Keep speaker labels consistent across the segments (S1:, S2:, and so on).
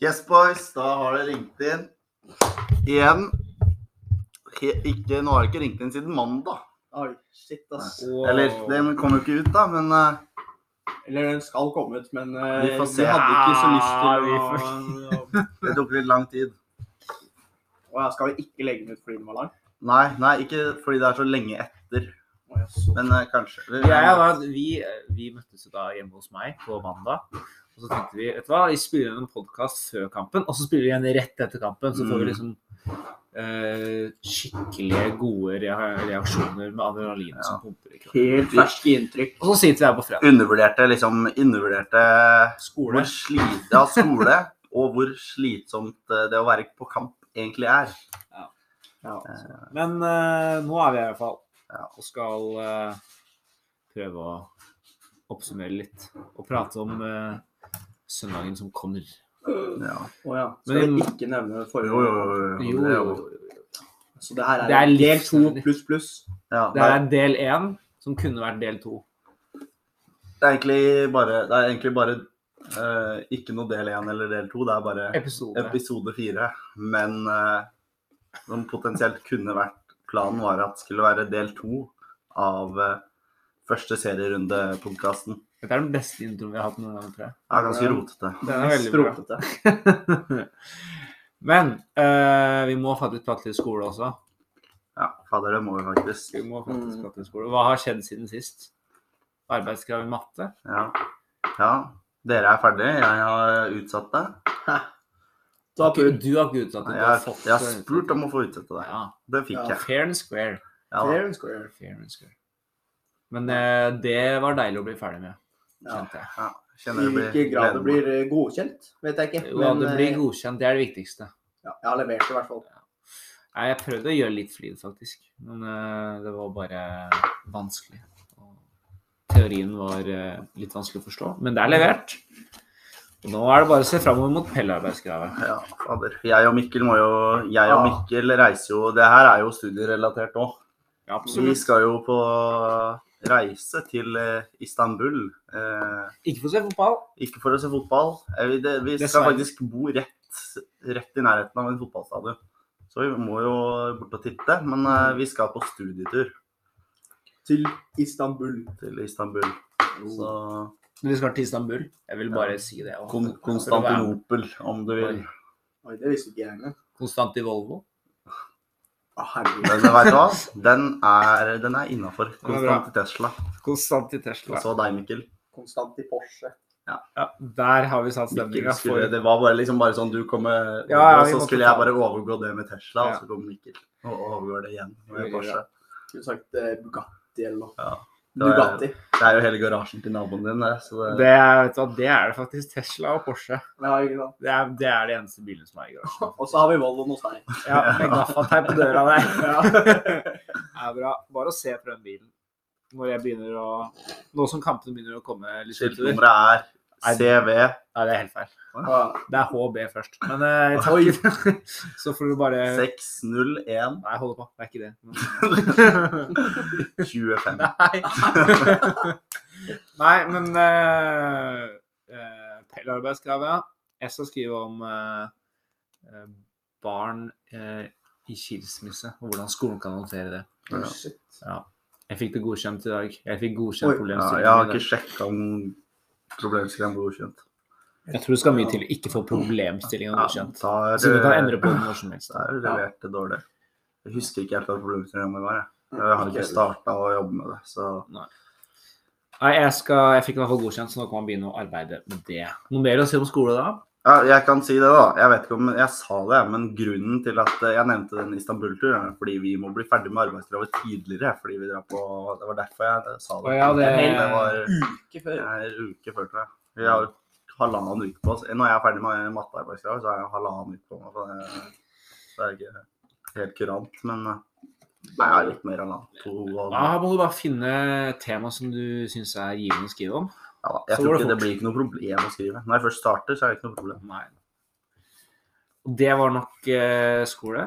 S1: Yes, boys. Da har det ringt inn. Igjen. He ikke, nå har det ikke ringt inn siden mandag.
S2: Oi, shit, ass.
S3: Og-
S1: Eller, den kom jo ikke ut, da, men eh,
S2: Eller den skal komme ut, men eh,
S1: Vi får se. Ah,
S2: hadde ikke så lyst
S3: Ja,
S2: til
S3: Ah, vi
S2: å
S1: det tok litt lang tid.
S2: Og jeg skal jo ikke legge den ut fordi den var lang.
S1: Nei, nei, ikke fordi det er så lenge etter,
S2: Å, jeg så-
S1: men eh, kanskje. Vi-
S3: Greia var at vi, vi møttes jo da hjemme hos meg på mandag. Og så tenkte vi vet du hva, vi spiller inn en podkast før kampen, og så spiller vi en rett etter kampen. Så
S2: Mm.
S3: får vi liksom eh, skikkelig gode rea- reaksjoner med adrenalin som pumper i kroppen.
S2: Helt ferske inntrykk.
S3: Og så sitter vi her på fredag.
S1: Undervurderte, liksom, undervurderte
S3: Skole.
S1: hvor slit, ja, skole og hvor slitsomt eh, det å være på kamp egentlig er.
S3: Ja, så- men eh, nå er vi her i hvert fall.
S1: Ja.
S3: Og skal eh, prøve å oppsummere litt. Og prate om eh, søndagen som kommer.
S1: Ja.
S2: Å ja. Skal
S3: Men-
S2: vi ikke nevne forrige?
S1: Jo, jo, jo, jo. det er jo-
S2: Så det her er,
S3: Det er litt-
S2: del to pluss pluss.
S1: Ja,
S3: Det er del én som kunne vært del to.
S1: det er egentlig bare, det er egentlig bare eh, ikke noe del én eller del to. Det er bare
S3: Episode.
S1: episode fire. Men eh, som potensielt kunne vært Planen var at det skulle være del to av eh, første serierunde-podkasten.
S3: Dette er den beste introen vi har hatt noen gang, tror jeg.
S1: Det er ganske rotete.
S3: Den er veldig bra.
S2: Skrotete.
S3: Men eh, vi må faktisk prate litt skole også.
S1: Ja, fader, det må vi faktisk.
S3: Vi må faktisk
S2: Mm.
S3: prate litt skole. Hva har skjedd siden sist? Arbeidskrav i matte?
S1: Ja. ja. Dere er ferdige. Jeg har utsatt det.
S2: Du har pult.
S3: Du har ikke utsatt det.
S1: Jeg
S3: Du har
S1: har,
S3: fått
S1: jeg har spurt om å få utsette det.
S3: ja.
S1: Det fikk jeg.
S3: Fair and square.
S1: Ja, da.
S2: Fair and square.
S3: Fair and square. Men eh, det var deilig å bli ferdig med,
S2: Ja.
S3: kjente jeg.
S1: Kjenner
S2: I
S1: det blir
S2: hvilken grad det
S1: gleden.
S2: blir eh, godkjent, vet jeg ikke.
S3: Jo, ja, det
S2: eh,
S3: blir godkjent. Det er det viktigste.
S2: ja, jeg har levert det i hvert fall.
S3: Nei, jeg prøvde å gjøre litt flid, faktisk. Men eh, det var bare vanskelig. Og teorien var eh, litt vanskelig å forstå, men det er levert. Og nå er det bare å se framover mot Pelle-arbeidskravet.
S1: Ja, fader. Jeg og Mikkel må jo Jeg og
S2: Ah.
S1: Mikkel reiser jo Det her er jo studierelatert òg. Vi
S3: Ja, absolutt.
S1: skal jo på reise til eh, Istanbul. Eh,
S3: Ikke for å se fotball.
S1: ikke for å se fotball. Eh, vi, det, vi skal
S3: Dessverre.
S1: faktisk bo rett, rett i nærheten av en fotballstadion. Så vi må jo bort og titte. Men eh, vi skal på studietur
S2: Til Istanbul.
S1: til Istanbul. Så
S3: Men vi skal til Istanbul. Jeg vil bare si det. også.
S1: Kon Konstantinopel, om du vil.
S2: Oi, det visste ikke jeg engang.
S3: Konstantivolvo.
S2: Å, herregud.
S1: Men vet du hva? Den er, den er innafor.
S3: Den er bra.
S1: Konstant Tesla.
S3: Konstanti Tesla.
S1: Og så deg, Mikkel.
S2: Konstant i Porsche.
S3: Ja, der har vi satt
S1: Mikkel
S3: stemninga
S1: skulle,
S3: for
S1: det var bare liksom bare sånn du kom med
S3: Ja, ja,
S1: og
S3: vi
S1: så
S3: måtte
S1: skulle
S3: ta
S1: jeg bare overgå det med Tesla,
S3: Ja.
S1: og så kom Mikkel og overgår det igjen med
S3: Veldig
S1: Porsche.
S2: Skulle sagt eh, Bugatti eller noe.
S1: Ja. Det er-
S2: Bugatti.
S1: Det er jo hele garasjen til naboen din, det. Så det,
S3: det er, vet du, hva, det er det faktisk. Tesla og Porsche.
S2: Ja, ikke sant.
S3: Det er, det er de eneste bilene som er i garasjen.
S2: Og så har vi Volvoen hos deg.
S3: Ja, med gaffateip på døra der.
S2: Ja.
S3: er bra. Bare å se på den bilen når jeg begynner å Nå som kampene begynner å komme litt utover.
S1: skiltnummeret
S3: Nei,
S1: er CV.
S3: Nei, det er helt feil.
S2: Ja.
S3: Det er HB først. Men eh, jeg takker. Så får du bare
S1: 601
S3: Nei, hold på. Det er ikke det. Men-
S1: 25.
S3: Nei. Nei, men eh, eh, Pellearbeidskravet, ja. Jeg skal skrive om eh, eh, barn eh, i skilsmisse og hvordan skolen kan håndtere det.
S1: Ja.
S2: Shit.
S3: Ja. Jeg fikk det godkjent i dag. Jeg fikk
S2: Oi.
S3: godkjent
S1: Ja,
S3: problemstillingen.
S1: jeg har
S3: i dag.
S1: ikke sjekka om problemstillingen ble godkjent.
S3: Jeg tror det skal mye til å ikke få problemstillinga
S1: Ja,
S3: godkjent.
S1: da er
S3: Så du kan
S1: det-
S3: endre på den når som helst.
S1: Så er det levert det dårlig. Jeg husker ikke helt hva problemstillingen var. Jeg. jeg har ikke starta å jobbe med det. Så
S3: Nei, jeg, skal, jeg fikk i hvert fall godkjent, så nå kan man begynne å arbeide med det. Noe mer å si om skole da?
S1: ja, jeg kan si det, da. Jeg vet ikke om jeg sa det, men grunnen til at eh, jeg nevnte den Istanbul-turen, er fordi vi må bli ferdig med arbeidskravet tidligere. fordi vi drar på, Det var derfor jeg eh, sa det.
S3: Å ja, det-
S1: det var
S2: Uke før.
S1: det er en uke før, tror jeg. Vi har halvannen uke på oss. Når jeg er ferdig med mattearbeidskravet, så er jeg halvannen uke på meg. så det- Så det er ikke helt kurant, men eh, Nei, jeg er litt mer halvannen. To og
S3: Da må du bare finne tema som du syns er givende å skrive om.
S1: Ja, da. jeg
S3: Så
S1: tror
S3: går det
S1: ikke det
S3: fort.
S1: blir ikke noe problem å skrive. Når jeg først starter, så er det ikke noe problem.
S3: Nei. Og det var nok eh, skole.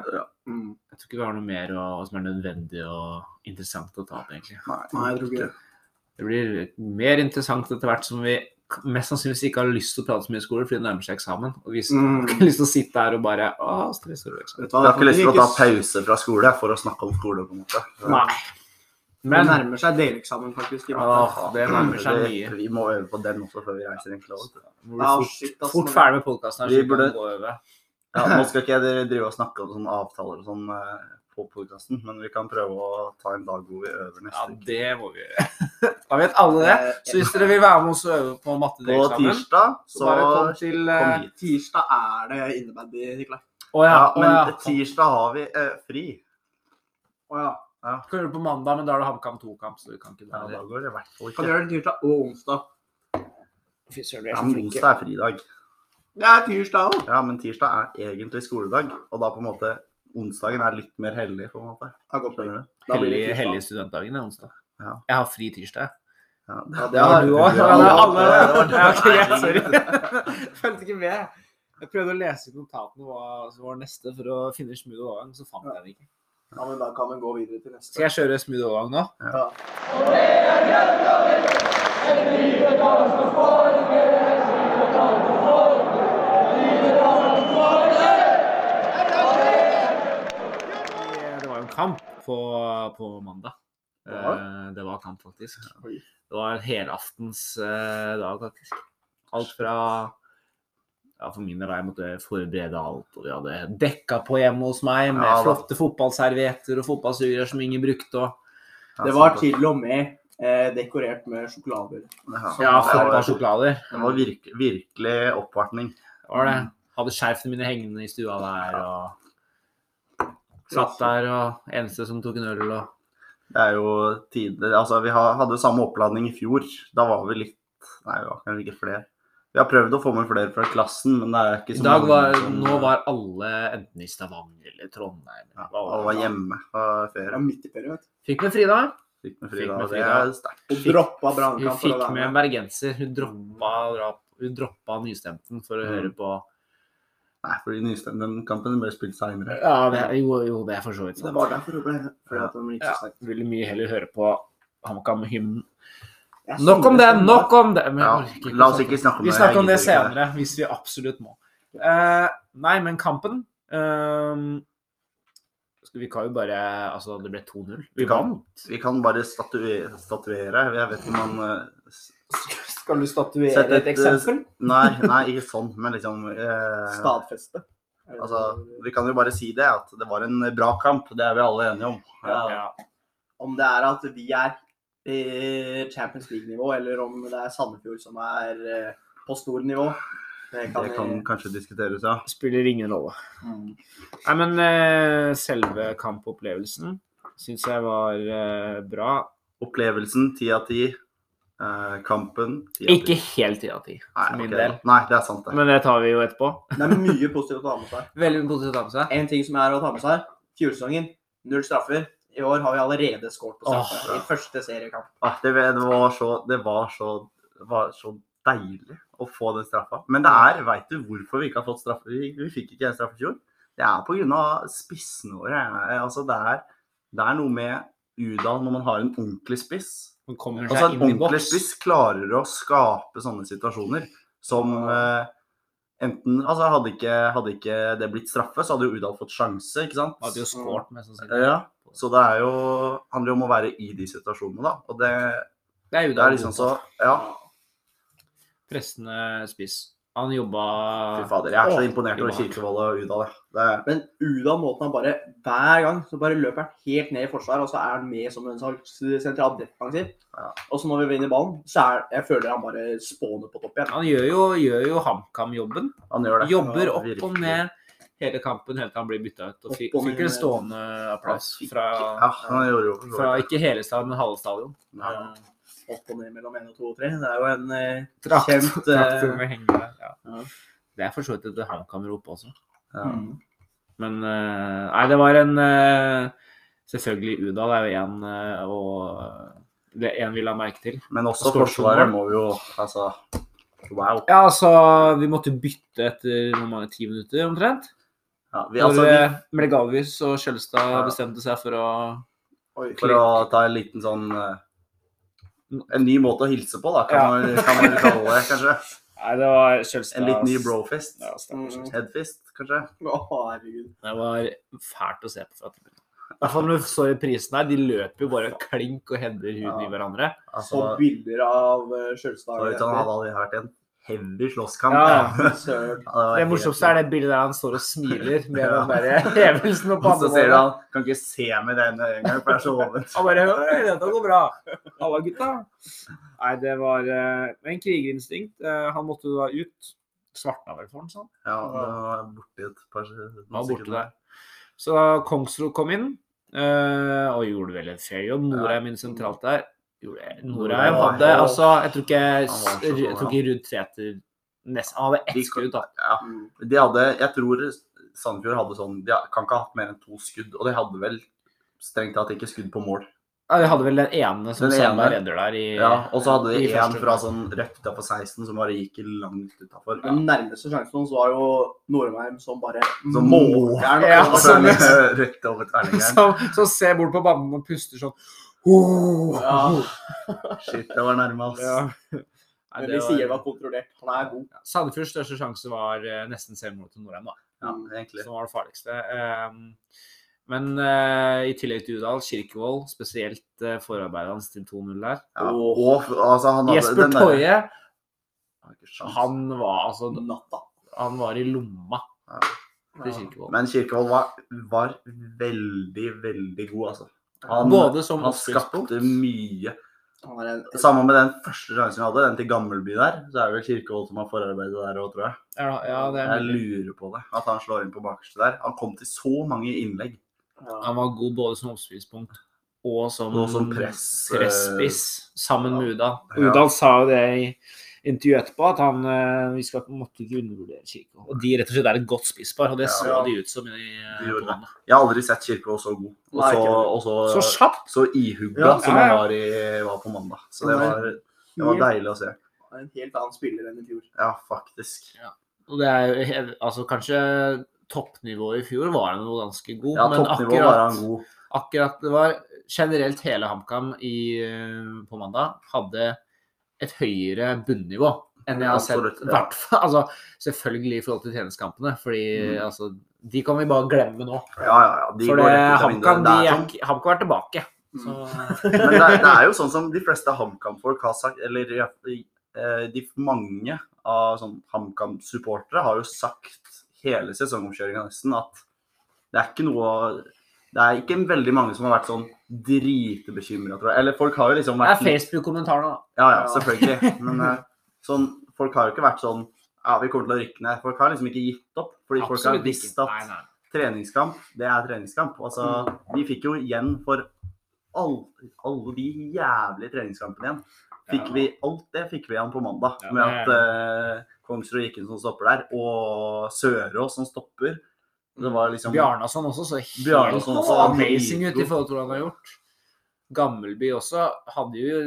S2: Mm.
S3: Jeg tror ikke vi har noe mer å, som er nødvendig og interessant å ta opp, egentlig.
S1: Nei,
S2: Nei, jeg tror ikke det.
S3: Det blir mer interessant etter hvert som vi k- mest sannsynligvis ikke har lyst til å prate så mye i skolen fordi det nærmer seg eksamen. Og hvis
S2: Mm.
S3: har lyst til å sitte her og bare Å, stress over eksamen.
S2: Vet du hva,
S1: Jeg har ikke lyst til å ta
S2: s-
S1: pause fra skole for å snakke om skole, på en måte.
S2: Nei. Det
S3: Men
S2: nærmer seg deleksamen, faktisk. i matte.
S3: Åh, det nærmer seg
S1: Det-
S3: mye.
S1: Vi må øve på den også før vi reiser, egentlig. også, vet du.
S3: Nå
S2: Ja,
S3: blir vi
S2: shit,
S3: fort,
S2: ass,
S3: fort
S2: men-
S3: ferdig med podkasten her.
S1: Vi
S3: så vi kan
S1: burde-
S3: gå over.
S1: Ja, nå skal ikke jeg drive og snakke om sånne avtaler og sånn eh, på podkasten, men vi kan prøve å ta en dag hvor vi øver
S3: Ja,
S1: neste uke.
S3: det må vi gjøre. Da vet alle det. Så hvis dere vil være med oss og øve på
S1: På
S3: mattedeleksamen,
S1: tirsdag
S3: så bare kom
S1: så
S3: til eh,
S1: kom hit.
S2: Tirsdag er det innebandy, Nikolai.
S3: Å ja.
S1: Ja,
S3: å
S1: men
S3: ja.
S1: tirsdag har vi eh, fri.
S2: Å ja.
S3: Kan gjøre det på mandag, men da er det HamKam 2-kamp, så du kan ikke
S1: Ja,
S3: dra
S1: da
S3: det.
S1: går det i hvert fall
S2: Kan
S1: ikke.
S2: du gjøre det tirsdag og onsdag?
S3: Fy søren, vi
S1: Ja,
S3: er så
S1: men
S3: flinke.
S1: onsdag er fridag.
S2: Det er tirsdag òg.
S1: Ja, men tirsdag er egentlig skoledag, og da på en måte Onsdagen er litt mer hellig, på en måte. Skjønner du?
S2: Da blir det
S3: Hellig-
S2: tirsdag.
S3: Hellig studentdagen er onsdag.
S1: Ja.
S3: Jeg har fri tirsdag.
S1: Ja,
S2: Ja,
S3: Det har du òg. Ja, det er alle.
S1: Det var-
S3: Ja, ok, jeg- sorry. Fulgte ikke med. Jeg prøvde å lese i notatene hva som var neste, for å finne smooth overgang, så fant jeg den ikke.
S2: Ja, men da kan vi gå videre til neste.
S3: Skal jeg kjøre smooth overgang nå?
S2: Ja.
S3: Det var jo en kamp på, på mandag.
S2: Det var
S3: Eh, Det var kamp, faktisk.
S2: Oi.
S3: Det var en helaftens eh, dag, faktisk. Alt fra ja, For min del jeg måtte forberede alt. og Vi hadde dekka på hjemme hos meg med
S1: Ja, da.
S3: flotte fotballservietter og fotballsugerør som ingen brukte. og
S2: Det var til og med eh, dekorert med sjokolader.
S1: Ja,
S3: Ja,
S1: det var-
S3: fotballsjokolader.
S1: Det var virke, virkelig oppvartning.
S3: Var det. Hadde skjerfene mine hengende i stua der og Satt der og eneste som tok en øl og
S1: Det er jo tider Altså, vi har, hadde jo samme oppladning i fjor. Da var vi litt Nei, vi var kanskje ikke flere. Vi har prøvd å få med flere fra klassen, men det er ikke
S3: I
S1: så
S3: dag var,
S1: som-
S3: nå var alle enten i Stavanger eller Trondheim.
S1: ja,
S3: Hva var
S1: Alle var
S3: det?
S1: hjemme fra
S2: Det var
S1: ferie.
S2: midt i ferie, vet du.
S3: Fikk med Frida.
S1: Fikk med
S3: Fikk
S1: Frida.
S3: med
S1: og Det
S3: Frida.
S1: er sterkt.
S2: Og droppa
S3: Hun
S2: brannkamp for å
S3: fikk med
S2: være
S3: en
S2: med.
S3: bergenser. Hun droppa, drap, hun droppa nystemten for å
S1: Mm.
S3: høre på
S1: Nei, fordi Nystein- den kampen ble spilt seinere.
S3: Ja, det, jo, jo, det er for så vidt
S2: Det
S3: sant.
S2: var derfor hun ble fordi at hun gikk så sterkt.
S3: Ville mye heller høre på HamKam-hymnen.
S2: Jeg
S3: Nok om
S2: savner
S3: det!
S2: sånne-
S3: Nok om det! Men jeg
S1: Ja,
S3: orker ikke
S1: la
S3: å
S1: oss
S3: snakke
S1: ikke snakke om
S3: Vi
S1: det.
S3: snakker om det
S1: Jeg gidder ikke det.
S3: senere, hvis vi absolutt må. Eh, nei, men kampen ehm, skal- Vi kan jo bare Altså, det ble 2-0. Vi
S1: Vi kan.
S3: vant.
S1: Vi kan bare statuere. statuere. Jeg vet ikke om man eh, s-
S3: Skal du statuere
S1: Sett et et, eh, eksempel? Nei, nei, ikke sånn, men liksom eh,
S2: Stadfeste.
S1: Altså, vi kan jo bare si det, at det var en bra kamp. Det er vi alle enige om.
S2: Ja.
S3: Ja.
S2: Om det er at vi er eh, Champions League-nivå, eller om det er Sandefjord som er eh, på stor nivå, det kan,
S1: Det kan kanskje diskuteres, ja.
S3: Spiller ingen rolle.
S2: Mm.
S3: Nei, men eh, selve kampopplevelsen syns jeg var eh, bra.
S1: Opplevelsen ti av ti. Eh, Kampen ti av
S3: Ikke
S1: ti.
S3: helt ti av ti, for
S1: Nei,
S3: min
S1: ok.
S3: del.
S1: Nei, det er sant, det.
S3: Men det tar vi jo etterpå.
S2: Det er mye positivt å ta med seg.
S3: Veldig positivt å ta med seg.
S2: En ting som er å ta med seg, fjorårsesongen null straffer. I år har vi allerede skåret på straffe
S1: Åh.
S2: i første seriekamp.
S1: Ah, det, det var så Det var så, det var så deilig å få den straffa. Men det er Veit du hvorfor vi ikke har fått straffe? Vi, vi fikk ikke en straffe i fjor. Det er pga. spissene våre. Eh, Altså, det er, det er noe med Udal når man har en ordentlig spiss.
S3: Man kommer seg
S1: Altså En
S3: inn i
S1: ordentlig
S3: boks.
S1: spiss klarer å skape sånne situasjoner som eh, enten altså hadde ikke, hadde ikke det blitt straffe, så hadde jo Udal fått sjanse, ikke sant?
S3: Hadde jo skåret, mest sannsynlig.
S1: Ja, så det er jo, handler jo om å være i de situasjonene, da. Og det,
S3: Det er jo
S1: det er liksom så Ja,
S3: Pressende spiss. Han jobba
S1: fy fader. Jeg er så
S3: Åh,
S1: imponert over
S3: jobba.
S1: Kirkevold og Udal, jeg. Det er
S2: Men Udal måten han bare hver gang så bare løper han helt ned i forsvar, og så er han med som en slags sentral defensiv.
S1: Ja.
S2: Og så når vi vinner ballen, så er jeg føler han bare spåner på topp igjen.
S3: Han gjør jo, gjør jo HamKam-jobben.
S1: Han gjør det.
S3: Jobber
S1: Ja,
S3: opp
S1: virkelig.
S3: og ned hele kampen helt til han blir bytta ut. Og fikk,
S2: Opp og
S3: fikk en
S2: ned.
S3: stående applaus fra,
S1: Ja, han gjorde jo for så
S3: fra
S1: vidt.
S3: ikke hele stadion, men halve stadion.
S1: Ja.
S2: Eh, Opp og ned mellom 1 og 2 og 3. Det er jo en eh,
S3: Trakt,
S2: Kjent, eh,
S3: traktor med hengere, ja.
S2: ja.
S3: Det er for så vidt et HamKam-rop også.
S1: Ja.
S2: mm.
S3: Men eh, Nei, det var en eh, Selvfølgelig Udal er jo én og det er en vi la merke til.
S1: Men også
S3: Skåret to
S1: Forsvaret
S3: mål.
S1: må vi jo Altså, wow.
S3: Ja, altså Vi måtte bytte etter hvor mange ti minutter omtrent.
S1: Ja, vi,
S3: Når
S1: altså, vi,
S3: eh, Melgalvis og Skjelstad
S1: Ja.
S3: bestemte seg for å
S2: Oi.
S1: For å ta en liten sånn eh, En ny måte å hilse på, da, kan man, kan man kalle det, kanskje.
S3: Nei, det var Kjølstad
S1: En litt ny brofist.
S3: Ja, stakkars Kjølstad.
S1: Headfist, kanskje.
S2: Å, herregud.
S3: det var fælt å se på. fra tribunen. I hvert fall når du så i prisen her, de løper jo bare klink og hender huden i
S1: Ja.
S3: hverandre.
S1: Altså,
S2: Så bilder av eh,
S1: så ut
S2: Skjølstad.
S1: som han hadde aldri vært i en heavy slåsskamp.
S3: Ja,
S1: Ja,
S2: Søren.
S1: var
S3: Det
S1: helt-
S3: morsomste er det bildet der han står og smiler med
S1: Ja.
S3: den der hevelsen opp på
S1: Og så ser du
S3: hånda.
S1: han kan ikke se med det ene øyet engang, for det er så åpent.
S3: Han bare Oi, dette går bra. Halla, gutta. Nei, det var eh, en krigerinstinkt. Eh, han måtte jo da ut. Svartna vel for den, sånn.
S1: Ja, det var borte i et par sekunder.
S3: Han var borte der. Så Kongsrud kom inn eh, og gjorde vel en fair jobb. Norheim inn sentralt der. Gjorde jeg- Norheim
S1: Norheim
S3: hadde
S1: var-
S3: altså Jeg tror ikke,
S1: Han var så god,
S3: jeg tror ikke rundt tre etter nest, Han hadde
S1: De-
S3: ett skudd, da.
S1: Ja,
S2: Mm.
S1: de hadde, jeg tror Sandefjord hadde sånn, de kan ikke ha hatt mer enn to skudd, og de hadde vel strengt tatt ikke skudd på mål.
S3: Ja, de hadde vel den ene som
S1: Den ene.
S3: Sandberg redder der i
S1: Ja, og så hadde
S3: i
S1: de en
S3: første
S1: fra
S3: omgang.
S1: sånn rett utafor 16 som bare gikk langt utafor.
S2: Den nærmeste sjansen hans var jo Norheim som bare
S1: Som må-
S2: måker den.
S3: Ja,
S1: Og så
S3: sånn,
S1: er det rett over tverlingeren.
S3: som, som ser bort på banen og puster sånn «Åh!»
S2: Ja.
S1: Shit, det var nærme, ass.
S3: Ja. Nei,
S2: Men
S3: det
S2: vi sier det
S3: var-
S2: var kontrollert. Han er god.
S3: Ja, Sandefjords største sjanse var eh, nesten selvmord til Norheim, da.
S1: Ja, egentlig.
S3: Som var det farligste. Ehm, Men eh, i tillegg til Udal, Kirkevold, spesielt eh, forarbeidet hans til 2-0 der.
S1: Ja. Og altså, han hadde
S3: Jesper
S1: den der-
S3: Toje,
S1: Han har ikke sjans.
S3: han var altså
S2: Natta.
S3: Han var i lomma
S1: Ja.
S3: til Kirkevold.
S1: Men Kirkevold var, var veldig, veldig god, altså. Han,
S3: Både som
S1: han skapte
S3: oppspillspunkt
S1: mye.
S2: Han er en
S1: Sammen med den første sjansen vi hadde, den til Gammelby der, så er det vel Kirkevold som har forarbeidet der òg, tror jeg.
S3: Ja, ja, det er
S1: Jeg
S3: mulig.
S1: lurer på det. At han slår inn på bakerste der. Han kom til så mange innlegg.
S2: ja.
S3: Han var god både som oppspillspunkt og som,
S1: Og som press-
S3: Mm.
S1: eh,
S3: presspiss, sammen med Udal.
S1: Ja.
S3: Udal sa jo det i intervjuet etterpå, at han, eh, vi skal, måtte ikke undervurdere Kirkevold. Og de rett og slett er et godt spisspar, og det så
S2: Ja.
S3: de ut som. i eh,
S1: De gjorde det.
S3: båndet.
S1: Jeg har aldri sett Kirkevold så god. Og
S2: Nei,
S1: så,
S2: ikke
S1: og så,
S3: Så kjapt!
S1: så ihugga
S2: Ja,
S1: som
S3: ja,
S1: han
S3: ja.
S1: var, i, var på mandag. Så det
S2: Nei.
S1: var, det var
S2: Helt,
S1: deilig å se.
S2: en helt annen spiller enn i fjor.
S1: Ja, faktisk.
S3: Og det er jo hev- altså kanskje toppnivået i fjor var han jo ganske god,
S1: Ja,
S3: men
S1: toppnivå var
S3: akkurat,
S1: han god.
S3: akkurat det var generelt hele HamKam i, eh, på mandag hadde et høyere bunnivå enn jeg har sett.
S1: Absolutt, ja.
S3: hvert fall- altså, selvfølgelig i forhold til treningskampene, fordi
S1: Mm.
S3: altså, de kan vi bare glemme nå.
S1: Ja, ja, ja. De går
S3: For det-
S1: rett ut av
S3: HamKam
S1: vinduet.
S3: de
S1: Det er
S3: er
S1: sånn
S3: ikke- HamKam er tilbake.
S2: Mm.
S3: Så,
S1: Men det, det er jo sånn som de fleste HamKam-folk har sagt, eller i hvert fall, eh, de mange av sånn HamKam-supportere har jo sagt hele sesongomkjøringa nesten at det er ikke noe å- Det er ikke veldig mange som har vært sånn dritbekymra, tror jeg. Eller folk har jo liksom
S3: det er
S1: vært
S3: Facebook-kommentarene, da.
S1: Ja, ja,
S2: Ja.
S1: selvfølgelig. Men eh, sånn, folk har jo ikke vært sånn Ja, vi kommer til å rykke ned. Folk har liksom ikke gitt opp. Fordi folk har
S3: Absolutt ikke.
S1: visst at
S3: Nei, nei.
S1: treningskamp, det er treningskamp. Altså,
S3: Mm.
S1: vi fikk jo igjen for all, alle de jævlige treningskampene igjen. Fikk
S3: Ja.
S1: vi, alt det fikk vi igjen på mandag.
S3: Ja,
S1: med at
S3: det-
S1: eh, Kongsrud gikk inn som stopper der, og Sørås som stopper. Det var liksom
S3: Bjarnason også så helt
S1: Bjarnason også var
S3: amazing ut
S1: dritgod.
S3: i forhold til hva han har gjort. Gammelby også hadde jo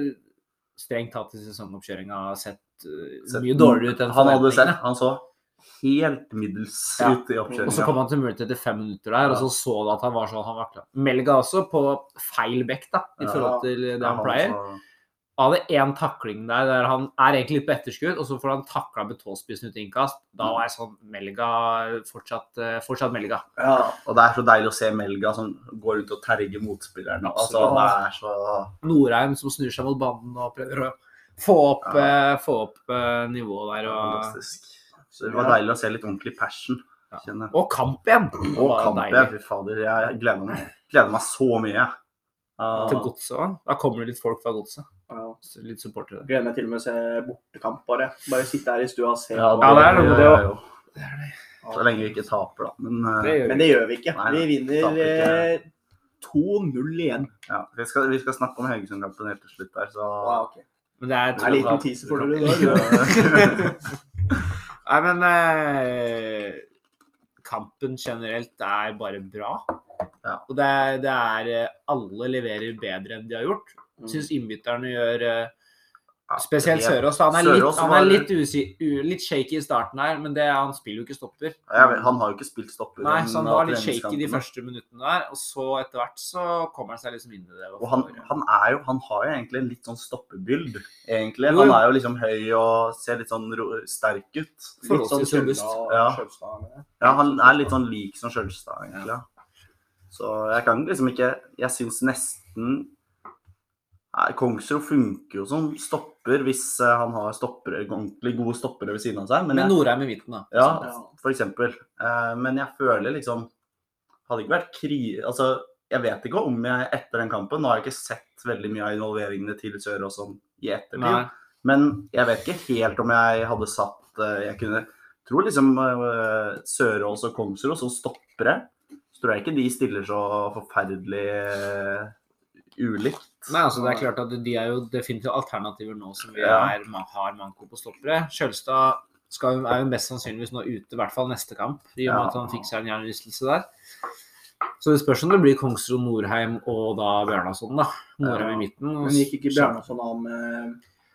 S3: strengt tatt i sesongoppkjøringa sett eh,
S1: Sett-
S3: mye dårligere ut enn
S1: Han hadde sett
S3: forventningene.
S1: Han så helt middels
S3: Ja.
S1: ut i
S3: Og så kom
S1: oppkjøringa.
S3: han til mulighet etter fem minutter der, og så så du at han var sånn han vakla. Melga også på feil bekk, da, i
S1: Ja.
S3: forhold til det han
S1: Ja, sånn.
S3: pleier.
S1: så-
S3: Han hadde én takling der der han er egentlig litt på etterskudd, og så får han takla med tåspissen ut i innkast. Da var jeg sånn Melga fortsatt, eh, fortsatt Melga.
S2: Ja.
S1: Og det er så deilig å se Melga som går rundt og terger motspilleren. Altså,
S3: Absolutt.
S1: det er så
S3: Norheim som snur seg mot banen og prøver å få opp,
S1: Ja.
S3: eh, få opp eh, nivået der. Og,
S1: fantastisk. Så det var
S2: Ja.
S1: deilig å se litt ordentlig passion.
S3: Ja.
S1: kjenner jeg.
S3: og kamp igjen! Det
S1: Og
S3: var
S1: kamp, ja.
S3: deilig.
S1: Fy fader, jeg gleder meg, gleder meg så mye. jeg. Ja.
S3: Til godset òg. Da kommer det litt folk fra godset.
S2: ja.
S3: Så Litt supportere.
S2: Gleder meg til og med å se bortekamp, bare. Bare sitte her i stua og se.
S1: Ja,
S2: på.
S3: Ja, det er noe med det
S1: gjør
S3: også.
S1: jeg jo. Så lenge vi ikke taper, da. Men eh,
S3: Det gjør
S2: Men
S3: vi.
S2: det gjør vi ikke.
S1: Nei,
S2: Vi
S1: nei,
S2: vinner
S1: taper ikke.
S2: eh, 2-0 igjen.
S1: ja, vi, skal, vi skal snakke om Haugesund-kampen helt til slutt der, så
S2: Wow, ok.
S3: Men det er,
S2: Det er en liten teaser for dere i
S1: dag.
S2: dag.
S3: Nei, men eh, Kampen generelt er bare bra.
S1: Ja.
S3: Og det er, det er eh, Alle leverer bedre enn de har gjort.
S2: Mm.
S3: Syns innbytterne gjør eh,
S1: Ja,
S3: Spesielt
S1: helt-
S3: Sørås. da. Han er
S1: Sørås
S3: litt, han
S1: var-
S3: er litt, usi, u, litt shaky i starten her, men det, han spiller jo ikke stopper.
S1: Ja, vel, han har jo ikke spilt stopper.
S3: Nei,
S1: han
S3: så han
S1: har
S3: var litt shaky de
S1: treningskampene.
S3: første minuttene der, og så etter hvert så kommer han seg liksom inn i det.
S1: Og han, han, er jo, han har jo egentlig en litt sånn stoppebyld, egentlig.
S3: Jo,
S1: Han
S3: jo.
S1: er jo liksom høy og ser litt sånn ro sterk ut.
S2: Litt sånn
S3: Forholdsvis robust.
S2: Kjølstad-
S1: Ja.
S2: Kjølstad, mener jeg.
S1: Ja, han er litt sånn lik som Skjølstad, egentlig. Så jeg kan liksom ikke Jeg syns nesten Nei, Kongsrud funker jo som stopper hvis eh, han har stoppere, ordentlig gode stoppere ved siden av seg. Men
S3: Men
S1: jeg,
S3: Norheim i midten, da.
S1: ja,
S2: Ja.
S1: for eksempel. Eh, Men jeg føler liksom Hadde ikke vært kri... Altså, jeg vet ikke om jeg etter den kampen Nå har jeg ikke sett veldig mye av involveringene til Sørås sånn i ettertid.
S3: Nei.
S1: Men jeg vet ikke helt om jeg hadde satt eh, Jeg kunne tror liksom eh, Sørås og Kongsrud og så stoppere. Så tror jeg ikke de stiller så forferdelig eh, ulikt.
S3: Nei, altså det er klart at de er jo definitivt alternativer nå som vi
S1: Ja.
S3: er, ma- har manko på stoppere. Skjølstad skal, jo- er jo mest sannsynligvis nå ute, i hvert fall neste kamp, i og med
S1: Ja.
S3: at han fikk seg en hjernerystelse der. Så det spørs om det blir Kongsrud, Norheim og da Bjørnason, da. Norheim
S1: Ja.
S3: i midten. og
S2: Men gikk ikke Bjarnason av med eh,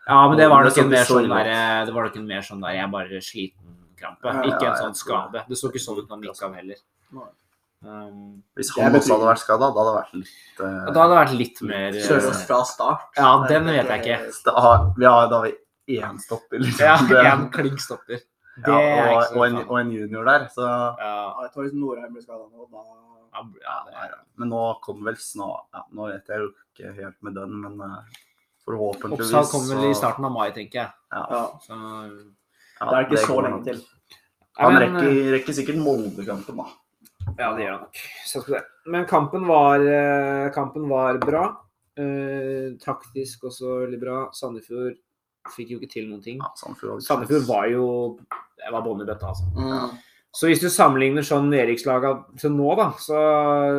S3: Ja, men det var nok
S1: Det så
S3: en mer
S1: ikke så
S3: sånn
S1: ille ut.
S3: der Det var nok en mer sånn der jeg er bare sliten-krampe.
S2: Ja, ja,
S3: Ikke en
S1: jeg
S3: sånn
S1: tror
S3: skade. Det så ikke sånn ut når han gikk av heller.
S2: Nei.
S3: Um,
S1: Hvis
S2: Jeg
S1: han
S2: betyr-
S1: også hadde vært skada, da hadde det vært litt
S3: og
S1: eh,
S3: da hadde det vært litt mer eh,
S2: Sørås fra start?
S3: Ja, den vet jeg ikke.
S1: da har- Vi har da har vi én stopper, liksom.
S3: Ja,
S1: Det-
S3: en klink stopper. Det
S1: ja,
S3: er ikke
S1: og,
S3: så
S1: og, en,
S3: farlig.
S1: og en junior der, så
S3: Ja,
S2: Ja, jeg tror hvis Norheim ble skadet nå, da
S3: ja, ja, det er-
S1: Men nå kommer vel snart ja, Nå vet jeg jo ikke helt med den, men eh, forhåpentligvis
S3: Oppsal kommer vel i
S1: så-
S3: starten av mai, tenker jeg.
S2: Ja.
S3: Så,
S1: ja,
S2: Det er ikke så
S1: går
S2: lenge
S1: nok.
S2: til.
S1: Han
S3: Nei, men, eh,
S1: rekker, rekker sikkert Molde-kampen, da.
S3: Ja, det gjør han nok. Så skal vi se. Men kampen var, eh, kampen var bra. Eh, taktisk også veldig bra. Sandefjord fikk jo ikke til noen ting.
S1: Ja, Sandefjord,
S3: Sandefjord var jo det var bånn i bøtta, altså.
S2: Mm.
S3: Så hvis du sammenligner sånn nedrykkslaga til nå, da, så,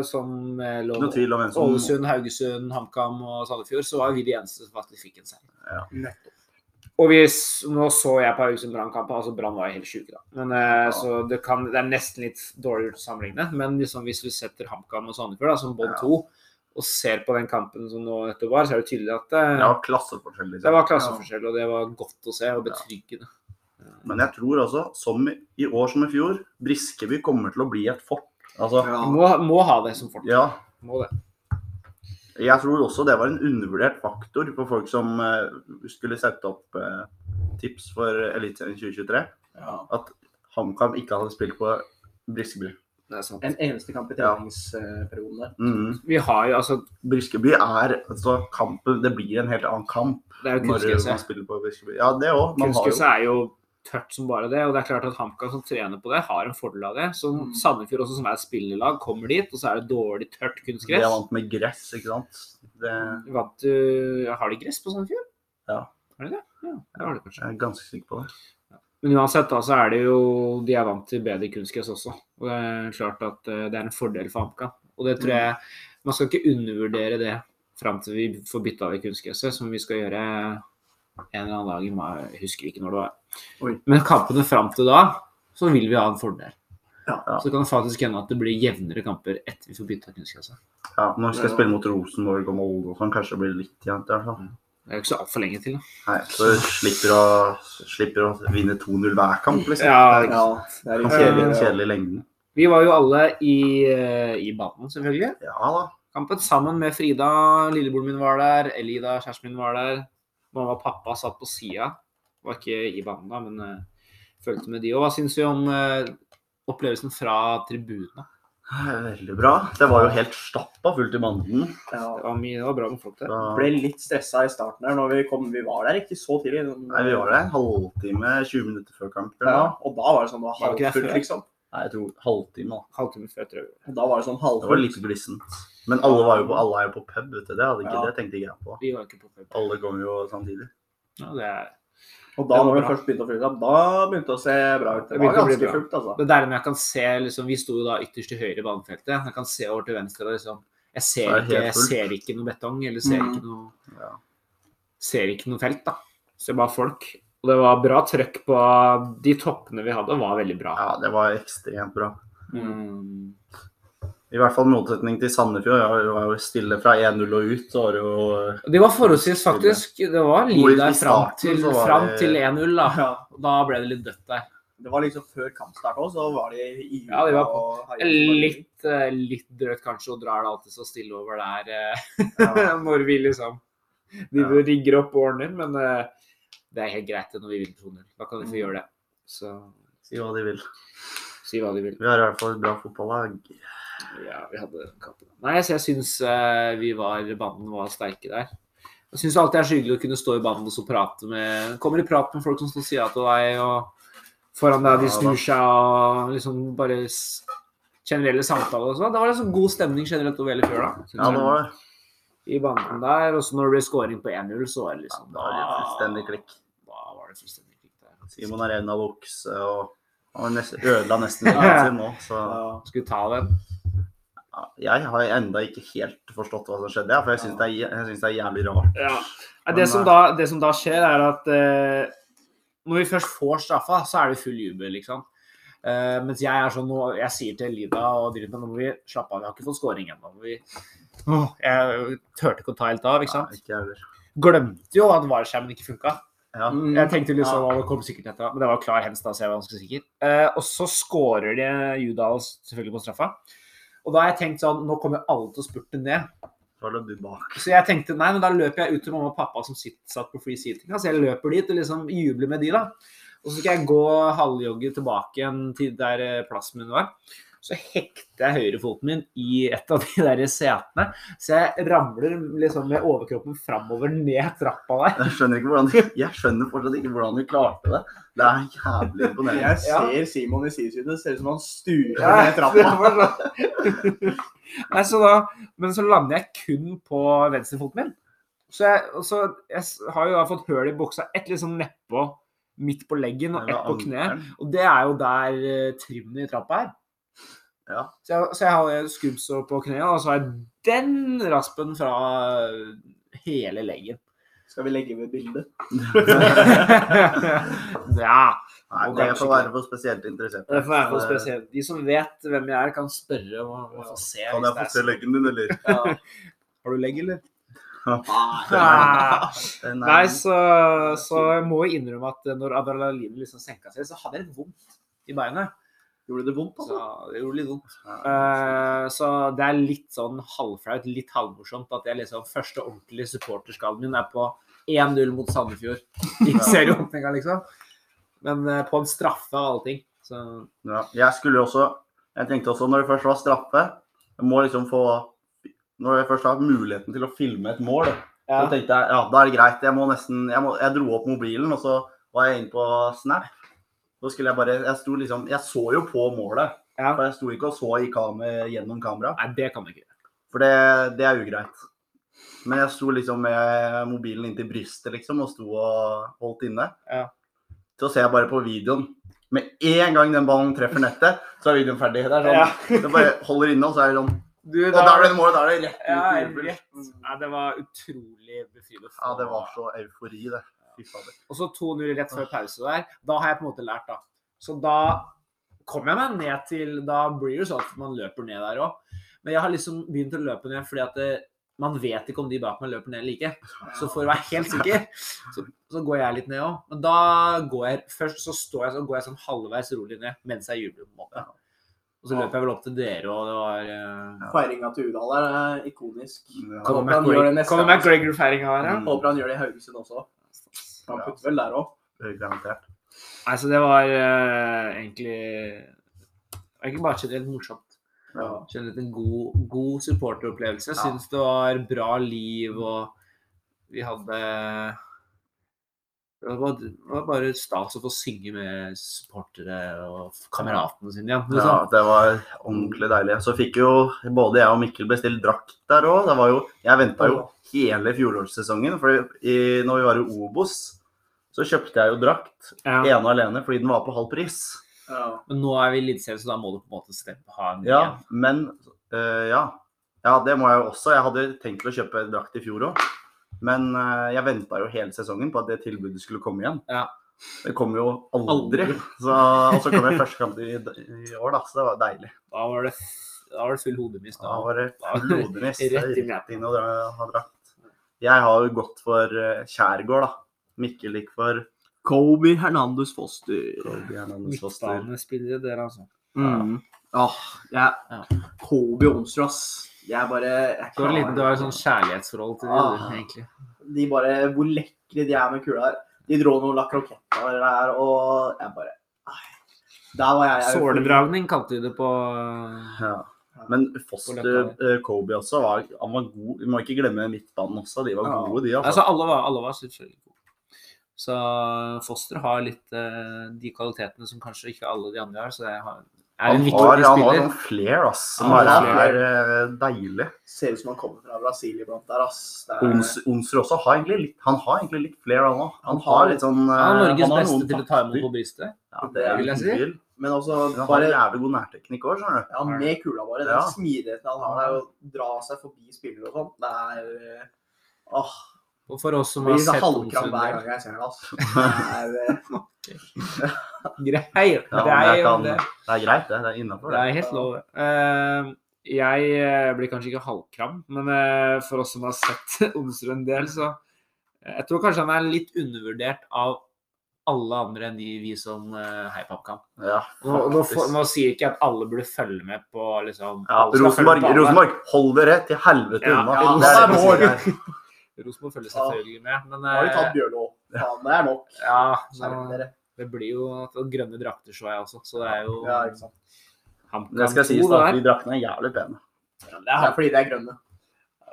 S3: som eh, lå
S1: Ikke noe tvil om hvem som
S3: Ålesund, Haugesund, HamKam og Sandefjord, så var vi de eneste som faktisk fikk en seier.
S2: Nettopp.
S3: Og vi, s- nå så jeg på Haugesund Brann-kampen, altså Brann var jo helt sjuke da. Men, eh,
S1: Ja.
S3: Så det, kan, det er nesten litt dårligere å sammenligne. Men liksom, hvis vi setter HamKam og Sandefjord da, som bånd
S1: Ja.
S3: to, og ser på den kampen som nå nettopp var, så er det tydelig at eh,
S1: Det var klasseforskjell,
S3: det
S1: liksom.
S3: var klasseforskjell, og det var godt å se og betryggende.
S1: Men jeg tror også, som i- i år som i fjor, Briskeby kommer til å bli et fort. Altså,
S2: Ja.
S3: Vi Må, må ha det som fort.
S1: ja.
S3: Må det.
S1: Jeg tror også det var en undervurdert faktor for folk som eh, skulle sette opp eh, tips for Eliteserien 2023.
S2: Ja.
S1: HamKam ikke hadde spilt på Briskeby.
S3: det er sant.
S2: En eneste kamp i treningsperioden der.
S1: Mhm.
S3: Vi har jo altså
S1: Briskeby er altså kampen Det blir en helt annen kamp
S3: Det er jo
S1: når man
S3: kunstgresset.
S1: spiller på Briskeby. Ja, det òg. Man har jo
S3: Kunstgresset er jo tørt som bare det, og det er klart at HamKam som trener på det, har en fordel av det. Så
S2: Mm.
S3: Sandefjord også, som er et spillerlag, kommer dit, og så er det dårlig tørt
S1: De er
S3: kunstgress.
S1: vant med gress, ikke sant. Det
S3: Vant du ja, eh, Har de gress på Sandefjord?
S1: Ja.
S3: Har de det? Ja, det har de kanskje.
S1: jeg er ganske sikker på. det.
S3: Men uansett, da, så er det jo De er vant til bedre kunstgress også. Og det er klart at eh, det er en fordel for HamKam. Og det tror jeg Man skal ikke undervurdere det fram til vi får bytta av det kunstgresset, som vi skal gjøre en eller annen dag i mai. Jeg husker ikke når det var.
S2: Oi.
S3: Men kampene fram til da, så vil vi ha en fordel.
S2: Ja.
S1: Ja.
S3: Så kan det faktisk hende at det blir jevnere kamper etter vi får bytta kunstgresset.
S1: Ja, når vi skal spille mot Rosenborg og Molde og sånn, kanskje det blir litt jevnt. i hvert fall.
S3: Det er jo ikke så altfor lenge til. da.
S1: Nei, så slipper å, slipper å vinne 2-0 hver kamp, liksom.
S3: Ja,
S2: Ja, det er
S1: Det
S2: litt
S1: er Kjedelig,
S2: kjedelig.
S1: kjedelig i lengden.
S3: Vi var jo alle i, eh, i banen, selvfølgelig.
S1: Ja da.
S3: Kampen sammen med Frida, lillebroren min var der, Elida, kjæresten min var der. Mamma og pappa satt på sida. Var ikke i banen da, men eh, fulgte med de òg. Hva syns vi om eh, opplevelsen fra tribunene?
S1: Veldig bra. Det var jo helt stappa fullt i banden.
S2: Ja.
S3: Det var, mye, det var bra med folk der.
S1: Da-
S2: Ble litt stressa i starten her når vi kom. Vi var der ikke så tidlig.
S1: Nei, vi var der en halvtime, 20 minutter før kamp. eller
S2: Ja,
S1: noe.
S2: og da var det sånn det var
S3: Var det ikke det
S2: halvfullt,
S3: før?
S2: liksom.
S1: Nei, jeg tror halvtime. da.
S3: Halvtime før, tror jeg.
S2: Og Da var det sånn
S1: Det var
S2: halvfullt.
S1: litt glissent. Men alle var jo på, alle er jo på pub, vet du. Det, hadde ikke,
S2: Ja.
S1: det tenkte ikke jeg på.
S3: Vi var ikke på pub.
S1: Alle kom jo samtidig.
S3: Ja, det, er,
S2: Og da
S3: Det var
S2: når vi
S3: bra.
S2: først begynte å fylle opp, da begynte det å se bra ut.
S3: Det
S2: Det
S3: begynte
S2: var
S3: å bli
S2: ganske
S3: bra.
S2: fullt, altså.
S3: det er der når jeg kan se liksom, Vi sto jo da ytterst til høyre i banefeltet. Jeg kan se over til venstre. og liksom, jeg,
S1: Det er
S3: ser
S1: helt
S3: ikke, jeg
S1: fullt.
S3: ser ikke noe betong eller ser
S2: Mm.
S3: ikke noe
S1: Ja.
S3: ser ikke noe felt, da. Ser bare folk. Og det var bra trøkk på De toppene vi hadde, var veldig bra.
S1: ja, det var ekstremt bra.
S3: Mm.
S1: I hvert fall i motsetning til Sandefjord. ja, Det var jo stille fra 1-0 og ut. Så var det jo eh,
S3: Det var forholdsvis, faktisk. Det var liv
S1: Hvor i
S3: der fram
S1: starten
S3: til,
S1: så var
S3: fram
S1: det-
S3: til 1-0, da.
S2: Ja.
S3: Da ble det litt dødt der.
S2: Det var liksom før kampstart òg, så var de i
S3: Ja, de var på.
S2: og heiet på Norge.
S3: Litt, eh, litt drøyt kanskje, og drar det alltid så stille over der eh,
S2: Ja.
S3: når vi liksom De
S1: Ja.
S3: rigger opp og ordner, men eh, det er helt greit det når vi vinner 2-0. Da kan de
S1: Mm.
S3: få gjøre det. Så
S1: Si hva de vil.
S3: si hva de vil.
S1: Vi har i hvert fall et bra fotballag.
S3: Ja, vi hadde den kampen. Nei, så jeg syns eh, vi var Banden var sterke der. Jeg syns alltid det er så hyggelig å kunne stå i banden og så prate med Kommer i prat med folk som står sida til deg, og foran deg, de
S1: Ja, da.
S3: snur seg og liksom bare s- Generelle samtaler og sånn. Det var liksom god stemning generelt over hele fjøla. synes
S1: Ja, det
S3: jeg.
S1: var det.
S3: I banden der. Og så når det ble scoring på 1-0, så var det liksom
S1: Da var det fullstendig klikk.
S3: Da var det fullstendig klikk der.
S1: Simon er evna å vokse og han nesten, ødela nesten livet sin nå. Så
S2: Ja.
S3: Skulle ta den.
S1: ja, jeg har enda ikke helt forstått hva som skjedde, jeg, for jeg syns det, er- jeg synes det er jævlig rart.
S3: Ja. Nei,
S1: Men,
S3: Det, som da, det som da skjer, er at eh, når vi først får straffa, så er det full jubel, liksom. Eh, mens jeg er sånn nå, jeg sier til Elida og Dylan nå må vi slappe av, vi har ikke fått scoring ennå. må Vi, Åh, jeg turte ikke å ta helt av, ikke sant.
S1: Nei, ikke jeg heller.
S3: Glemte jo at vareskjermen ikke funka.
S1: Ja.
S2: Mm.
S3: Jeg tenkte liksom, ja. det kom sikkert etter, men det var klar hens da, så jeg var ganske sikker. Eh, og så skårer de Judal selvfølgelig på straffa. Og da har jeg tenkt sånn, nå kommer alle til å spurte ned.
S1: Da løp du bak.
S3: Så jeg tenkte nei, men da løper jeg ut til mamma og pappa som sitter, satt på free seating. Så jeg løper dit og liksom jubler med de, da. Og så skal jeg gå halvjogge tilbake igjen til der eh, plassen min var. Så hekter jeg høyrefoten min i et av de der setene. Så jeg ramler liksom med overkroppen framover ned trappa der.
S1: Jeg skjønner, ikke hvordan, jeg skjønner fortsatt ikke hvordan vi klarte det. Det er jævlig imponerende.
S2: Jeg ser Simon i sidesynet. Det ser ut som han sturer ned
S3: det
S2: trappa.
S3: var sånn. Nei, så da, men så lander jeg kun på venstrefoten min. Så jeg, og så jeg s- har jo da fått høl i buksa. Ett liksom nedpå, midt på leggen, og
S1: Det
S3: ett
S1: var
S3: på kneet.
S1: ankelen.
S3: Og det er jo der eh, trimmen i trappa er.
S1: Ja.
S3: Så jeg, så jeg har skrubbsår på kneet, og så har jeg den raspen fra eh, hele leggen.
S2: Skal vi legge ved bildet?
S3: ja.
S1: Nei,
S3: Og
S1: det
S3: kanskje
S1: får være for spesielt interesserte.
S3: Det får være noe
S1: Så, eh,
S3: spesielt. De som vet hvem jeg er, kan spørre og, og få se.
S1: Kan jeg
S3: hvis det
S1: få
S3: er
S1: se
S3: sånn.
S1: leggen din, eller?
S2: Ja.
S3: Har du legg, eller? Ah,
S1: Nei. Den er-
S3: Nei, så, så jeg må jo innrømme at når adrenalinet liksom senka seg, så hadde jeg litt vondt i beinet.
S2: Gjorde det vondt?
S3: Så
S2: Altså?
S3: det gjorde litt vondt.
S1: Ja.
S3: Eh, så det er litt sånn halvflaut, litt halvmorsomt at jeg liksom første ordentlige supporterskallen min er på 1-0 mot Sandefjord i serieåpninga, liksom. Men eh, på en straffe og allting. Så
S1: Ja, jeg skulle jo også Jeg tenkte også når det først var straffe Jeg må liksom få Når jeg først har muligheten til å filme et mål, så
S3: ja.
S1: tenkte jeg ja, da er det greit. Jeg må nesten Jeg, må, jeg dro opp mobilen, og så var jeg inne på Snap. Så skulle jeg bare Jeg sto liksom Jeg så jo på målet.
S3: Ja.
S1: For jeg sto ikke og så i kamer, gjennom kamera.
S3: Nei, det kan du ikke.
S1: For det, det er ugreit. Men jeg sto liksom med mobilen inntil brystet liksom, og sto og holdt inne.
S3: Ja.
S1: Så ser jeg bare på videoen. Med en gang den ballen treffer nettet, så er videoen ferdig. Det er sånn,
S3: Ja.
S1: det bare holder inne, og så er det sånn
S3: Du,
S1: Og der er det målet! Der er det rett ut
S3: ja,
S1: i jubel.
S3: rett. Nei, det var utrolig befriende. å få-
S1: Ja, det var så eufori, det. Fy fader.
S3: Og så 2-0 rett før pause der. Da har jeg på en måte lært, da. Så da kommer jeg meg ned til Da blir det jo sånn at man løper ned der òg. Men jeg har liksom begynt å løpe ned fordi at det, man vet ikke om de bak meg løper ned eller ikke. Så for å være helt sikker, så, så går jeg litt ned òg. Men da går jeg Først så står jeg sånn, går jeg sånn halvveis rolig ned mens jeg jubler. på en måte. Og så løper jeg vel opp til dere, og det var eh,
S2: Feiringa til Udal er eh, ikonisk.
S1: Ja.
S3: Conor
S2: Håper han gjør det
S3: McGregor-
S2: neste
S3: Conor
S2: gang.
S3: McGregor-feiringa her, ja.
S1: Mm.
S2: Håper han gjør det i Haugesund også. Han putter vel der òg.
S1: Garantert.
S3: Nei, så det var eh, egentlig det var Egentlig bare generelt morsomt.
S1: Ja.
S3: Generelt en god, god supporteropplevelse. Jeg
S1: Ja.
S3: syns det var bra liv, og vi hadde det var, det var bare stas å få synge med supportere og kameratene sine igjen.
S1: Ja,
S3: Liksom.
S1: det var ordentlig deilig. Så fikk jo både jeg og Mikkel bestilt drakt der òg. Det var jo Jeg venta jo hele fjorårssesongen, for i, når vi var i Obos, så kjøpte jeg jo drakt
S3: Ja.
S1: ene og alene fordi den var på halv pris.
S2: Ja.
S3: Men nå er vi i Eliteserien, så da må du på en måte stemme, ha en
S1: Ja, men øh, ja. ja, det må jeg jo også. Jeg hadde tenkt å kjøpe drakt i fjor òg, men øh, jeg venta jo hele sesongen på at det tilbudet skulle komme igjen.
S3: Ja.
S1: Det kom jo aldri.
S3: Aldri.
S1: Så, og så kom jeg første kamp i, i år, da, så det var deilig.
S3: Da var det Da var det full hodemist.
S1: Da
S3: Da.
S1: var det full hodemist. Det
S3: Rett i
S1: er
S3: nappen.
S1: Rett inn og dra- ha drakt. Jeg har jo gått for eh, Kjærgaard, da. Mikkel gikk for
S2: Kobe Hernandez Foster.
S1: Kobe Hernandez Foster.
S3: Midtbanespillere, dere altså.
S2: Mm. Åh, jeg,
S3: Ja.
S2: Kobe Onsrud, ass. Jeg bare jeg
S3: Så det var en liten, det
S2: klarer
S3: var et sånn kjærlighetsforhold til dem,
S2: Ah.
S3: egentlig.
S2: De bare, Hvor lekre de er med kula her. De dro noen la kroketter der, og jeg bare ai. Der var jeg. jeg
S3: Såledragning kalte vi det på
S1: Ja. Men Foster,
S3: Løkka.
S1: eh, Kobe også, var, han var god. Vi må ikke glemme midtbanen også. De var
S2: Ja.
S1: gode, de. Altså.
S3: Altså, alle var, alle var selvfølgelig gode. Så Foster har litt eh, de kvalitetene som kanskje ikke alle de andre har, så jeg har, er
S1: Han
S3: en viktig
S1: har, han har
S3: spiller.
S1: noen flair, ass. Som
S3: Han
S1: bare
S3: har sånn
S1: er eh, deilig.
S2: Ser ut som han kommer fra Brasil iblant der, ass. Det er-
S1: Ons, Onsrud også har egentlig litt, han har egentlig litt flair, han òg. Han
S2: Han har-
S1: har litt sånn eh,
S3: Han er Norges
S1: har
S3: beste
S1: noen
S3: til å ta imot
S1: takter.
S3: på brystet.
S1: Ja, det er
S3: vil jeg
S1: uten
S3: si.
S1: tvil.
S2: Men også
S1: Han har
S2: bare
S1: jævlig god nærteknikk òg, skjønner du.
S2: ja, med kula bare. Den
S1: Ja.
S2: smidigheten han har der, å dra seg forbi spillere og sånn, det er eh, Åh.
S3: Og for oss som
S2: Jeg
S3: har
S2: blir så
S3: sett
S2: halvkram hver gang
S3: Onsund
S2: jeg ser det, ass. Det er, eh,
S3: Grei!
S1: Ja, men
S3: Grei
S1: jeg
S3: om
S1: kan,
S3: det.
S1: det er greit, det. Det er innafor,
S3: Det
S1: det.
S3: er helt lov. Eh, jeg eh, blir kanskje ikke halvkram, men eh, for oss som har sett Onsrud en del, så eh, Jeg tror kanskje han er litt undervurdert av alle andre enn de vi som eh, heier på HamKam.
S1: Ja,
S3: Nå, nå,
S1: faktisk.
S3: får- nå sier ikke jeg at alle burde følge med på liksom
S1: ja,
S3: alle skal følge
S1: Rosenborg,
S3: med på alle.
S1: Rosenborg, hold dere til helvete
S3: Ja,
S1: unna.
S3: ja,
S1: det er det
S2: det
S1: vi
S2: er
S1: sier her.
S3: Rosenborg følger selvfølgelig med, men
S2: nå har de
S3: eh,
S2: tatt Bjørlo. Faen, det er nok.
S3: ja,
S2: Skjerp
S3: nå,
S2: dere.
S3: det blir jo og grønne drakter, så jeg også, så det er jo
S2: Ja, ikke sant.
S3: HamKam
S1: Det skal
S3: 2
S1: sies, da.
S3: der.
S1: at De draktene er jævlig pene.
S3: Det
S2: Det
S3: er
S2: er fordi de er grønne.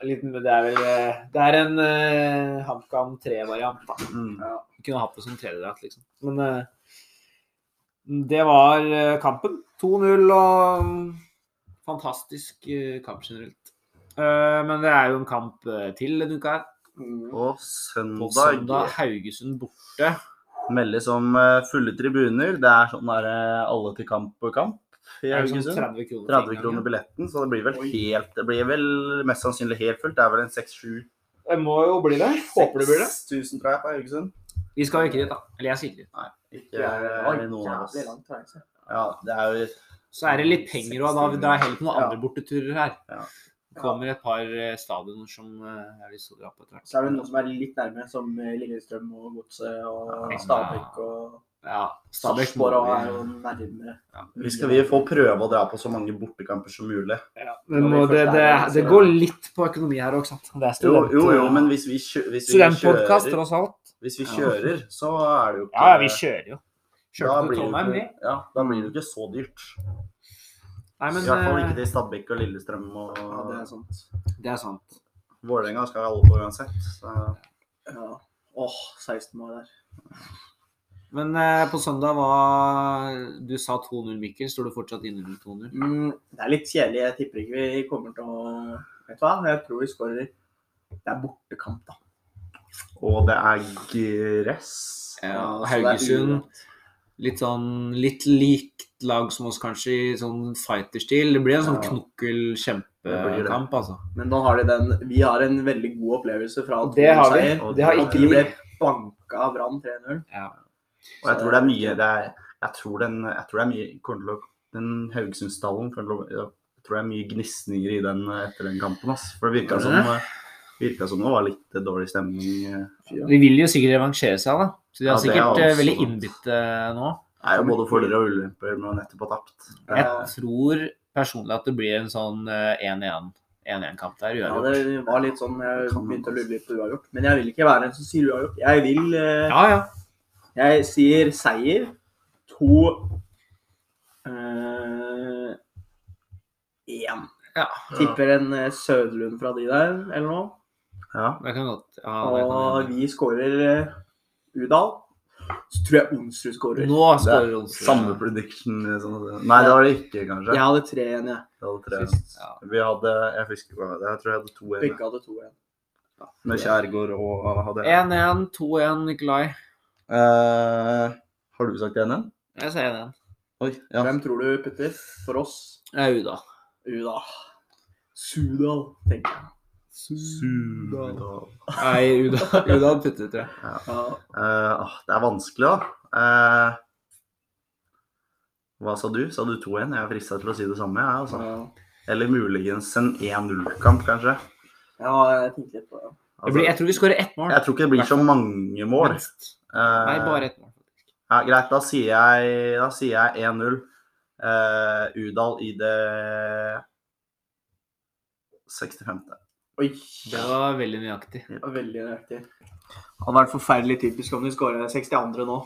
S3: Liten, det er vel eh, Det er en eh, HamKam 3-variant, da.
S1: Mm.
S2: Ja.
S3: Kunne hatt det som tredjedrakt, liksom. Men eh, det var eh, kampen. 2-0 og mm, fantastisk eh, kamp generelt. Eh, men det er jo en kamp eh, til denne uka. her.
S2: Mm.
S1: Og
S3: På
S1: søndag
S3: søndag Haugesund borte.
S1: meldes om eh, fulle tribuner. Det er sånn der eh, alle til kamp på kamp i
S3: Det er jo sånn
S1: Haugesund.
S3: 30 kroner.
S1: 30
S3: for
S1: kroner
S3: inngangen.
S1: billetten, så det blir vel
S2: Oi.
S1: helt Det blir vel mest sannsynlig helt fullt. Det er vel en 6-7
S3: Det må jo bli det. Håper det blir det.
S1: 6000, tror jeg, på Haugesund.
S3: Vi skal jo ikke dit, da. Eller jeg skal ikke dit.
S1: Nei, ikke
S2: Det er
S1: eh, noen av oss.
S2: jævlig langt reise.
S1: Ja, det er jo
S3: Så er det litt penger òg, da. Vi drar heller på noen
S1: Ja.
S3: andre borteturer her.
S1: Ja.
S3: Det kommer et par eh, stadioner som eh, jeg har lyst til å dra på etter hvert.
S2: Så er det noen som er litt nærme, som eh, Lillestrøm og Godset og
S3: Ja.
S2: Stabæk og
S3: Ja, Stabæk må
S2: Sarpsborg er jo
S3: vi-
S2: nærmere.
S1: Vi skal vi få prøve å dra på så mange bortekamper som mulig.
S3: Ja,
S2: vi
S3: men må,
S2: først
S3: det,
S2: er
S3: det,
S2: der,
S3: det
S2: så-
S3: går litt på økonomi her òg, sant. Det
S1: Jo,
S3: er student,
S1: jo, jo, men hvis vi, kjø hvis vi
S3: studentpodkast,
S1: kjører,
S3: tross alt.
S1: hvis vi
S3: Ja.
S1: kjører, så er det jo ikke
S3: Ja, ja, vi kjører jo.
S1: da
S3: Kjørte til
S1: blir det jo
S3: Trondheim, vi.
S1: ikke- Ja, da blir det jo ikke så dyrt.
S3: Nei, men
S1: I hvert fall
S3: eh,
S1: ikke til Stabæk og Lillestrøm og
S2: Ja, det er sant.
S3: det er sant.
S1: Vålerenga skal alle på uansett. Så.
S2: Ja. Åh, 16 år der.
S3: Men eh, på søndag var Du sa 2-0, Mikkel. Står du fortsatt inne med 2-0?
S2: Mm, det er litt kjedelig. Jeg tipper ikke vi kommer til å Vet du hva, jeg tror vi skårer. Det er bortekamp, da.
S1: Og det er gress.
S2: så
S3: Ja,
S2: det er
S3: Haugesund.
S2: uvant.
S3: Litt sånn litt likt lag som oss, kanskje, i sånn fighter-stil. Det blir en sånn
S1: Ja. Det blir det.
S3: knokkel-kjempekamp, altså.
S2: Men nå har de den Vi har en veldig god opplevelse fra at
S3: Det har vi.
S1: Og
S3: Det har
S1: de-
S2: Og
S3: ikke
S2: de ble
S3: vi.
S2: banka av Brann 3-0.
S3: Ja.
S1: Og jeg tror det er mye det er, jeg, tror den, jeg tror det er mye kommer til å, Den Haugesundstallen kommer til å- Jeg tror det er mye gnisninger i den eh, etter den kampen. Ass. For det virka
S3: Tror du
S1: som, eh, virka som det var litt eh, dårlig stemning. eh.
S3: De vil jo sikkert revansjere seg, da. Så de
S1: Ja, det
S3: er
S1: er
S3: sikkert eh,
S1: også
S3: veldig
S1: sant.
S3: innbitte eh, nå.
S1: Det er jo både fordeler og ulemper med å nettopp ha tapt.
S2: Ja.
S3: Jeg tror personlig at det blir en sånn eh, 1-1 1-1-kamp der.
S2: Ja,
S3: uavgjort.
S2: det var litt sånn Jeg
S1: Det kan man
S2: begynte å
S1: godt.
S2: lure litt på uavgjort. Men jeg vil ikke være en som sier uavgjort. Jeg vil eh,
S3: Ja, ja.
S2: Jeg sier seier. To eh, Én.
S3: Ja.
S2: Tipper en eh, Søderlund fra de der, eller noe.
S1: Ja.
S3: Det kan godt ja, det kan
S2: Og
S3: hende.
S2: vi skårer eh, Udal. Så tror jeg Onsrud skårer.
S3: Nå
S1: Det
S3: skårer
S1: er
S3: Onsrud.
S1: samme prediction. eh, Sånn. Nei, det var det ikke, kanskje.
S2: Jeg hadde tre igjen, jeg.
S1: Det var tre.
S3: Sist, ja.
S1: Vi hadde Jeg husker ikke hva det var. Jeg tror jeg hadde to ene.
S2: Begge hadde to igjen.
S1: Med Kjærgaard og hadde
S3: 1-1, 2-1, Nikolai.
S1: Eh, Har du sagt 1-1?
S3: Jeg sier 1-1.
S1: Oi. Ja.
S2: Hvem tror du putter for oss?
S3: Det er Uda.
S2: Uda. Sudal, tenker jeg.
S1: Sudal.
S3: Nei, Uda, Uda hadde puttet, tror jeg.
S2: Ja.
S1: Eh, åh, det er vanskelig, da. Eh, hva sa du? Sa du 2-1? Jeg er frista til å si det samme. Jeg, altså.
S2: ja.
S1: Eller muligens en 1-0-kamp, kanskje.
S2: Ja, jeg tenkte litt på det.
S3: Det blir, jeg
S1: jeg,
S3: tror vi skårer ett mål.
S1: jeg tror ikke det blir så mange mål.
S3: Minst.
S1: Eh,
S3: Nei, bare ett mål.
S1: Ja, greit, da sier jeg, da sier jeg 1-0. Eh, Udal i det 65.
S2: Oi,
S3: Det var veldig nøyaktig.
S2: det var veldig nøyaktig. Det hadde vært forferdelig typisk om de skåra 62. nå.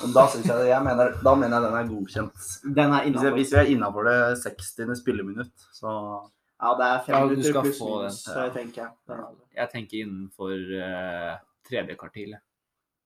S1: Men Da, synes jeg, det- jeg mener, da mener jeg den er godkjent.
S2: Den er
S1: Hvis, jeg,
S2: innafor.
S1: hvis vi er innafor det 60. spilleminutt, så
S2: Ja, det er fem
S3: Ja, du
S2: minutter
S3: skal
S2: pluss
S3: få
S2: minus,
S1: den.
S2: så jeg
S1: Ja.
S2: tenker jeg. Ja.
S3: Jeg tenker innenfor eh, tredje kvartil. jeg.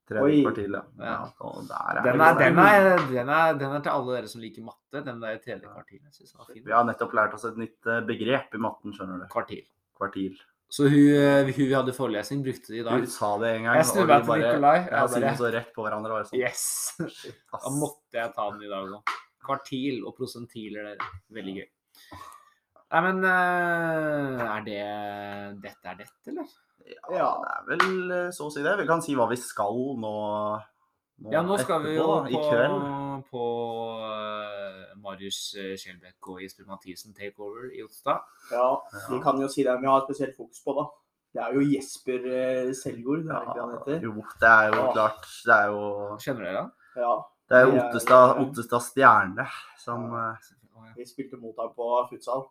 S1: tredje
S2: Oi.
S1: kvartil, ja.
S3: Ja.
S1: og der er
S3: Den
S1: vi der.
S3: er, den, er, den, er, den er til alle dere som liker matte. Den der tredje kvartil. Jeg synes den var
S1: Vi
S3: fin.
S1: har nettopp lært oss et nytt eh, begrep i matten, skjønner du.
S3: Kvartil.
S1: Kvartil.
S3: Så hun, eh, hun vi hadde forelesning, brukte det i
S1: Du
S3: dag.
S1: sa det en gang,
S3: Jeg snur meg
S1: og vi
S3: til
S1: bare
S3: Nikolai.
S1: ja,
S3: Jeg
S1: siden vi
S3: bare
S1: så rett på hverandre. Var det sånn,
S3: Yes!
S1: shit,
S3: Da
S1: ass.
S3: måtte jeg ta den i dag òg. Kvartil og prosentiler, dere. Veldig gøy. Nei, men eh, Er det Dette er dette, eller?
S1: Ja, det er vel eh, så å si det. Vi kan si hva vi skal nå.
S3: Ja, nå skal vi jo
S1: etterpå, da,
S3: på,
S1: I kveld.
S3: på eh, Marius eh, Skjelbæk og Jesper Mathisen takeover i Otstad.
S2: Ja,
S1: Ja.
S2: vi kan jo si det vi har spesielt fokus på, da. Det er jo Jesper eh, Seljord, er det ikke det han heter?
S1: jo, det er jo
S2: Ja.
S1: klart. Det er jo,
S3: Kjenner dere han?
S2: Ja.
S1: det er jo
S2: Det er-
S1: Ottestad, Ottestad Stjerne som eh,
S3: Å, ja.
S2: Vi spilte mot ham på futsal.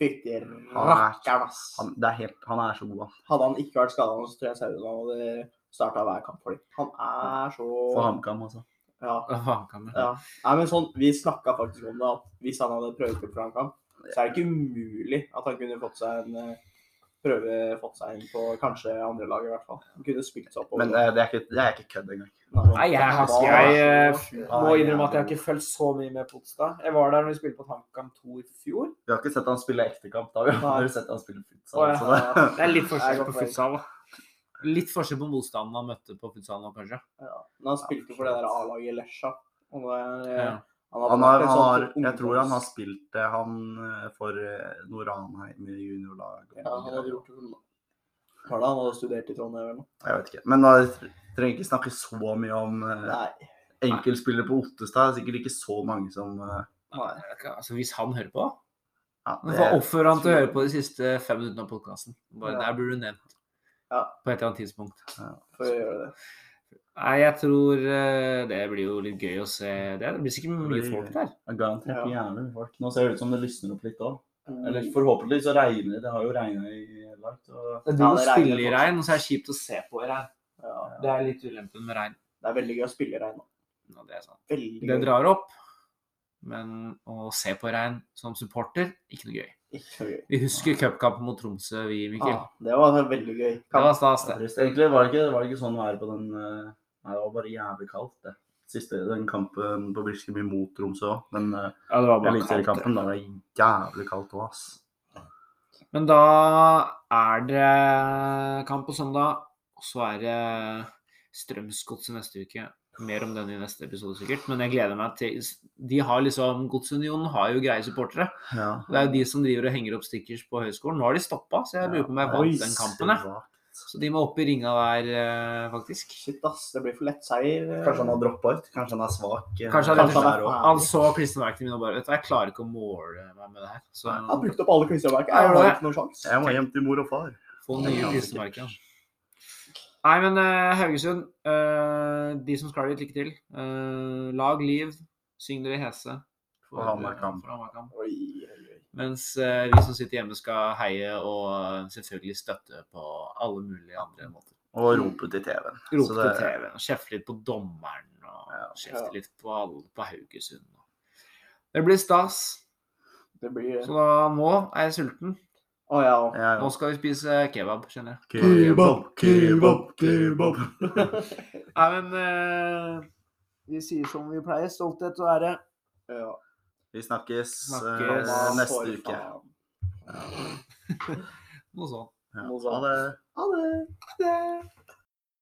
S2: Fytti
S1: rakkeren,
S2: rakkeren, ass.
S1: han, det er helt, han er så god, han.
S2: Hadde han ikke vært skada nå, så tror jeg Sauda hadde starta hver kamp for dem. Han er så
S1: For HamKam, altså.
S2: Ja.
S3: Å, han kan vel-
S2: ja. Nei, men sånn, vi snakka faktisk om det, at hvis han hadde prøvespilt for HamKam, så er det ikke umulig at han kunne fått seg en eh, prøve fått seg inn på kanskje andre lag, i hvert fall. Han kunne spilt seg opp.
S1: Men eh, det er ikke, det er ikke kødd engang.
S3: Nei, jeg,
S1: skal
S3: jeg, eh,
S1: Ja,
S3: må innrømme
S1: jævlig.
S3: at jeg har ikke fulgt så mye med på Otstad. Jeg var der når vi spilte på Tankam 2 i fjor.
S1: Vi har ikke sett han spille ekte kamp. Da vi har
S2: Nei.
S1: vi sett han spille
S3: Å,
S1: futsal.
S3: ja.
S1: Så det,
S3: Det er litt
S2: forskjell på
S3: futsal. Litt forskjell på motstanden han møtte på futsalen nå, kanskje.
S2: Ja. Men han spilte for det der A-laget i Lesja. Og det er, eh,
S3: Ja.
S2: hadde
S1: han
S2: vært
S1: har,
S2: en
S1: han har,
S2: sånn
S1: jeg tror han har
S2: ungdoms-
S1: spilt eh, han eh, for eh, Noranheim i juniorlag. og
S2: Ja, han
S1: greier.
S2: hadde gjort det. for- Var det han hadde studert i Trondheim eller noe?
S1: Jeg vet ikke. Men da trenger ikke snakke så mye om eh,
S2: Nei.
S1: enkeltspillere på Ottestad. Det er Sikkert ikke så mange som eh,
S2: Nei.
S3: Altså, hvis han hører på
S1: ja,
S3: Men Hva
S1: det,
S3: oppfører han til å høre på de siste fem minuttene av podkasten?
S2: Ja.
S3: Der burde du nevnt.
S2: Ja.
S3: På et eller annet tidspunkt.
S2: Får jeg gjøre det.
S3: Nei, jeg tror eh, det blir jo litt gøy å se det. Det blir sikkert mye
S1: blir-
S3: folk der.
S1: er garantert
S2: Ja.
S1: jævlig mye folk. Nå ser det ut som det lysner opp litt òg. Eller forhåpentlig så regner det. Det har jo regna i hele dag. Så...
S2: Ja,
S3: Det blir
S2: det
S3: jo
S2: regner
S3: stille i
S2: fortsatt.
S3: regn, og så er det kjipt å se på i regn.
S2: Mm, Ja.
S3: Det er litt ulempen med regn.
S2: Det er veldig gøy å spille i regn nå.
S3: Ja, det er sånn. sant.
S2: Veldig
S3: Det
S2: gøy.
S3: drar opp, men å se på regn som supporter, ikke noe gøy.
S2: Ikke noe gøy.
S3: Vi husker cupkampen mot Tromsø, vi, Mikkel.
S2: Ja, det var veldig gøy.
S3: Det var stas, det.
S1: Trist. Egentlig var det, ikke, var det ikke sånn været på den eh, Nei, det var bare jævlig kaldt, det. Siste den kampen på Briskem imot Tromsø òg. Den eh,
S3: Ja, det var
S1: eliteseriekampen, da var det jævlig kaldt òg, ass.
S3: Men da er det kamp på søndag, og så er det Strømsgodset neste uke. Mer om den i neste episode, sikkert. Men jeg gleder meg til De har liksom Godsunionen har jo greie supportere.
S1: Ja.
S3: Det er jo de som driver og henger opp stickers på høyskolen. Nå har de stoppa, så jeg lurer på om jeg vant den kampen, jeg. Så de må opp i ringa der, eh, faktisk.
S2: Shit, ass. Det blir for lett seier.
S1: Kanskje han har droppa ut? Kanskje han er svak? eh,
S3: Kanskje han-
S1: er
S2: Ja.
S3: Han så klistremerkene mine og bare Vet du hva, jeg klarer ikke å måle meg med det her. Så
S2: Jeg har brukt opp alle klistremerker.
S3: Ja,
S2: Jeg har
S3: det var
S2: ikke noen sjanse.
S1: Jeg må hjem til mor og far.
S3: få nye klistremerker. ja. Nei, men eh, Haugesund, eh, de som skal dit, lykke til. Eh, lag liv, syng dere hese.
S1: For Hammerkamp.
S3: For Hammerkamp.
S2: Oi, oi, oi.
S3: Mens eh, vi som sitter hjemme skal heie og eh, selvfølgelig støtte på alle mulige andre måter.
S1: Og rope til TV-en.
S3: Rope
S1: Så
S3: til
S1: det-
S3: TV-en, og kjefte litt på dommeren, og
S1: Ja.
S3: kjefte
S2: Ja.
S3: litt på alle på Haugesund. Det blir stas.
S2: Det blir
S3: Så da nå er jeg sulten.
S2: Å, ja. og-
S1: Ja, ja.
S3: Nå skal vi spise kebab, skjønner jeg.
S1: Kebab, kebab, kebab.
S3: Nei, men eh, vi sier som vi pleier. Stolthet og ære.
S2: Ja.
S1: Vi snakkes,
S3: Snakkes.
S1: eh,
S2: For
S1: neste uke.
S2: faen.
S3: Noe sånt.
S1: Ja.
S2: Noe sånt.
S1: Ha det.
S2: Ha det.
S3: Yeah.